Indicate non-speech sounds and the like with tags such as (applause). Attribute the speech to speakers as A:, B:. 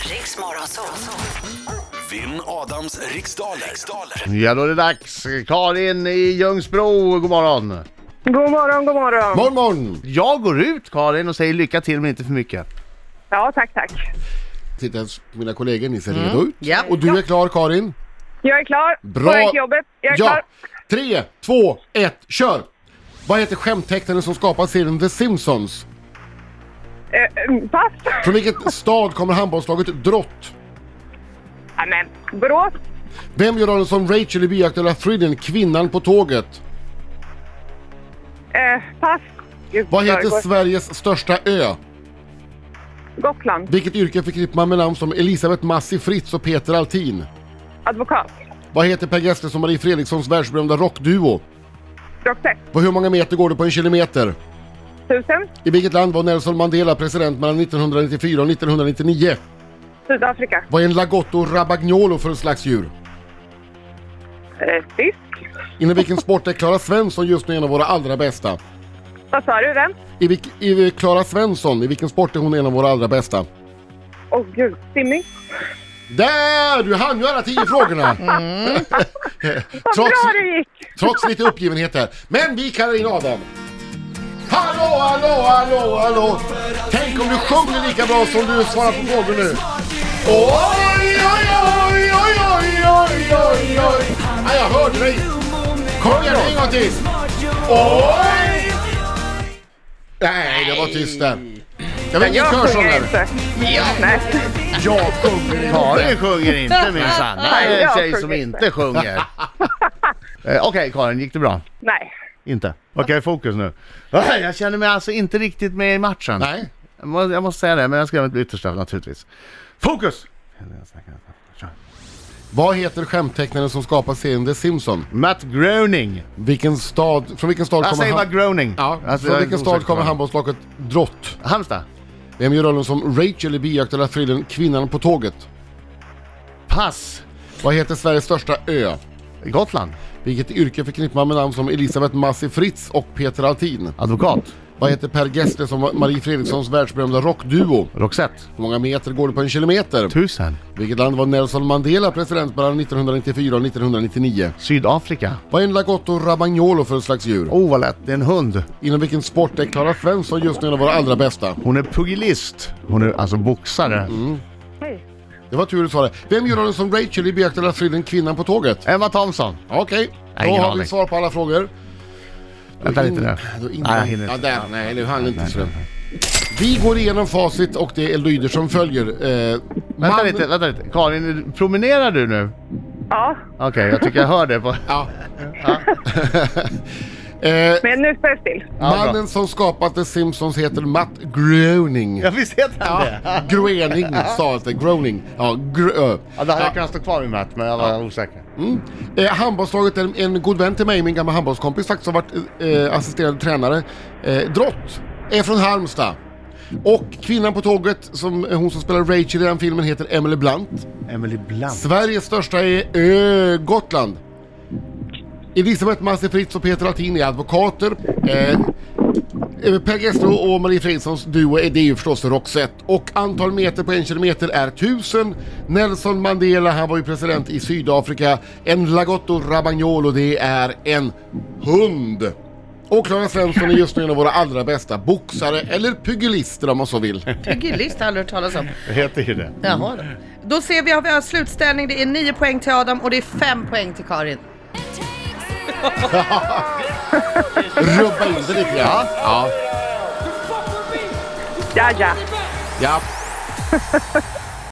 A: Riks Morgonzoo.
B: Vinn Adams riksdaler. riksdaler.
C: Ja, då är det dags. Karin i Ljungsbro, god morgon.
D: God morgon, god morgon.
E: Morgon, morgon!
C: Jag går ut Karin och säger lycka till men inte för mycket.
D: Ja, tack, tack.
E: Titta, mina kollegor, ni ser
D: Mm.
E: redo ut.
F: Ja.
E: Och du är klar Karin.
D: Jag är klar.
E: Bra!
D: Jag är till jobbet. Jag är
E: ja.
D: klar.
E: Tre, två, ett, kör! Vad heter skämttecknaren som skapade serien The Simpsons?
D: Eh, mm, pass.
E: Från vilket stad kommer handbollslaget Drott?
D: Amen. Borås.
E: Vem gör rollen som Rachel i bioaktuella thrillern Kvinnan på tåget?
D: Eh, pass. Gud,
E: Vad heter
D: Sörgård.
E: Sveriges största ö?
D: Gotland.
E: Vilket yrke förknippar man med namn som Elisabeth Massi Fritz och Peter Altin?
D: Advokat.
E: Vad heter Per Gessle som Marie Fredrikssons världsberömda rockduo?
D: Doktor.
E: På hur många meter går det på en kilometer?
D: Tusen.
E: I vilket land var Nelson Mandela president mellan 1994 och 1999?
D: Sydafrika.
E: Vad är en lagotto rabagnolo för en slags djur?
D: Eh, fisk.
E: Inom vilken sport är Klara Svensson just nu en av våra allra bästa?
D: Vad sa du? Vem?
E: I, vilk, i Klara Svensson, i vilken sport är hon en av våra allra bästa?
D: Åh gud. Simning.
E: Där! Du hann ju alla tio frågorna!
D: Vad
E: (laughs) Trots-
D: bra det gick!
E: Trots lite uppgivenhet här. Men vi kallar in Adam. Hallå, hallå, hallå, hallå! Tänk om du sjunger lika bra som du svarar på frågor nu. Oj, oj, oj, oj, oj, oj, oj, oj. Ja, jag hörde dig. Kom igen, en gång till. Oj! Nej, det var tyst där. Jag vet inte
D: Jag
E: körsång
D: sjunger
E: där.
D: inte. Nej.
E: Jag
C: Karin
E: sjunger inte.
C: sjunger inte
E: (laughs)
C: minsann. Det här är en
D: Jag
C: tjej
D: sjunger
C: som
D: inte.
C: inte sjunger. Eh, Okej Karin, gick det bra?
D: Nej.
C: Inte? Okej, fokus nu. Ah, Jag känner mig alltså inte riktigt med i matchen.
E: Nej.
C: Jag må- Jag måste säga det, men jag ska göra mitt yttersta naturligtvis. Fokus!
E: Vad heter skämttecknaren som skapar serien The Simpsons?
C: Matt Groening.
E: Vilken stad, från vilken stad
C: Jag
E: kommer
C: säger bara
E: han?
C: Groening.
E: Ja,
C: Alltså, jag
E: från
C: är
E: vilken stad
C: osäker på
E: kommer
C: det.
E: handbollslaget Drott?
C: Halmstad.
E: Vem gör rollen som Rachel i bioaktuella thrillern Kvinnan på tåget?
C: Pass.
E: Vad heter Sveriges största ö?
C: Gotland.
E: Vilket yrke förknippar man med namn som Elisabeth Massi Fritz och Peter Altin?
C: Advokat.
E: Vad heter Per Gessle som var Marie Fredrikssons världsberömda rockduo?
C: Roxette.
E: Hur många meter går det på en kilometer?
C: Tusen.
E: Vilket land var Nelson Mandela president mellan 1994 och 1999?
C: Sydafrika.
E: Vad är en lagotto rabagnolo för en slags djur?
C: Oh vad lätt, det är en hund.
E: Inom vilken sport är Klara Svensson just nu en av våra allra bästa?
C: Hon är pugilist. Hon är alltså boxare.
E: Det var tur du sa det. Vem gör rollen som Rachel i bioaktuella thrillern Kvinnan på tåget?
C: Emma Thompson.
E: Okej,
C: Nej,
E: då
C: ingen
E: har vi
C: aning.
E: svar på alla frågor.
C: Vänta lite nu.
E: Då in-
C: Nej, jag hinner
E: ja,
C: inte.
E: där, nej, nu hann inte så. Vi går igenom facit och det är lyder som följer. Eh,
C: Vänta
E: man-
C: lite, vänta lite. Karin, promenerar du nu?
D: Ja,
C: Okej, jag tycker jag hör det (laughs) på...
E: Ja. eh,
D: men nu står jag still.
C: Ja, bra.
E: mannen som skapat The Simpsons heter Matt Groening.
C: Ja, visst heter han det?
E: Groening sa jag inte, Groening. Ja, gr-
C: Ja, det hade jag kunnat stå kvar med Matt, men jag var osäker.
E: Mm. Eh, handbollslaget, en, en god vän till mig, min gamla handbollskompis faktiskt, har varit eh, assisterande tränare. Eh, Drott är från Halmstad. Och kvinnan på tåget, som, eh, hon som spelar Rachel i den filmen, heter Emily Blunt.
C: Emily Blunt.
E: Sveriges största är ö, Gotland. Elisabeth Massi Fritz och Peter Altin är advokater. Eh, eh, per Gessle och Marie Fredrikssons duo är det är ju förstås Roxette. Och antal meter på en kilometer är 1000. Nelson Mandela, han var ju president i Sydafrika. En lagotto rabagnolo, det är en hund. Och Klara Svensson är just nu en av våra allra bästa boxare, eller pugilister om man så vill.
F: Pugilist har jag aldrig hört talas om.
C: Det heter ju det.
F: Jaha då. Då ser vi, har vi har slutställning. Det är 9 poäng till Adam och det är 5 poäng till Karin.
E: Rubba in det lite grann. Ja.
D: Ja, ja.
E: Ja.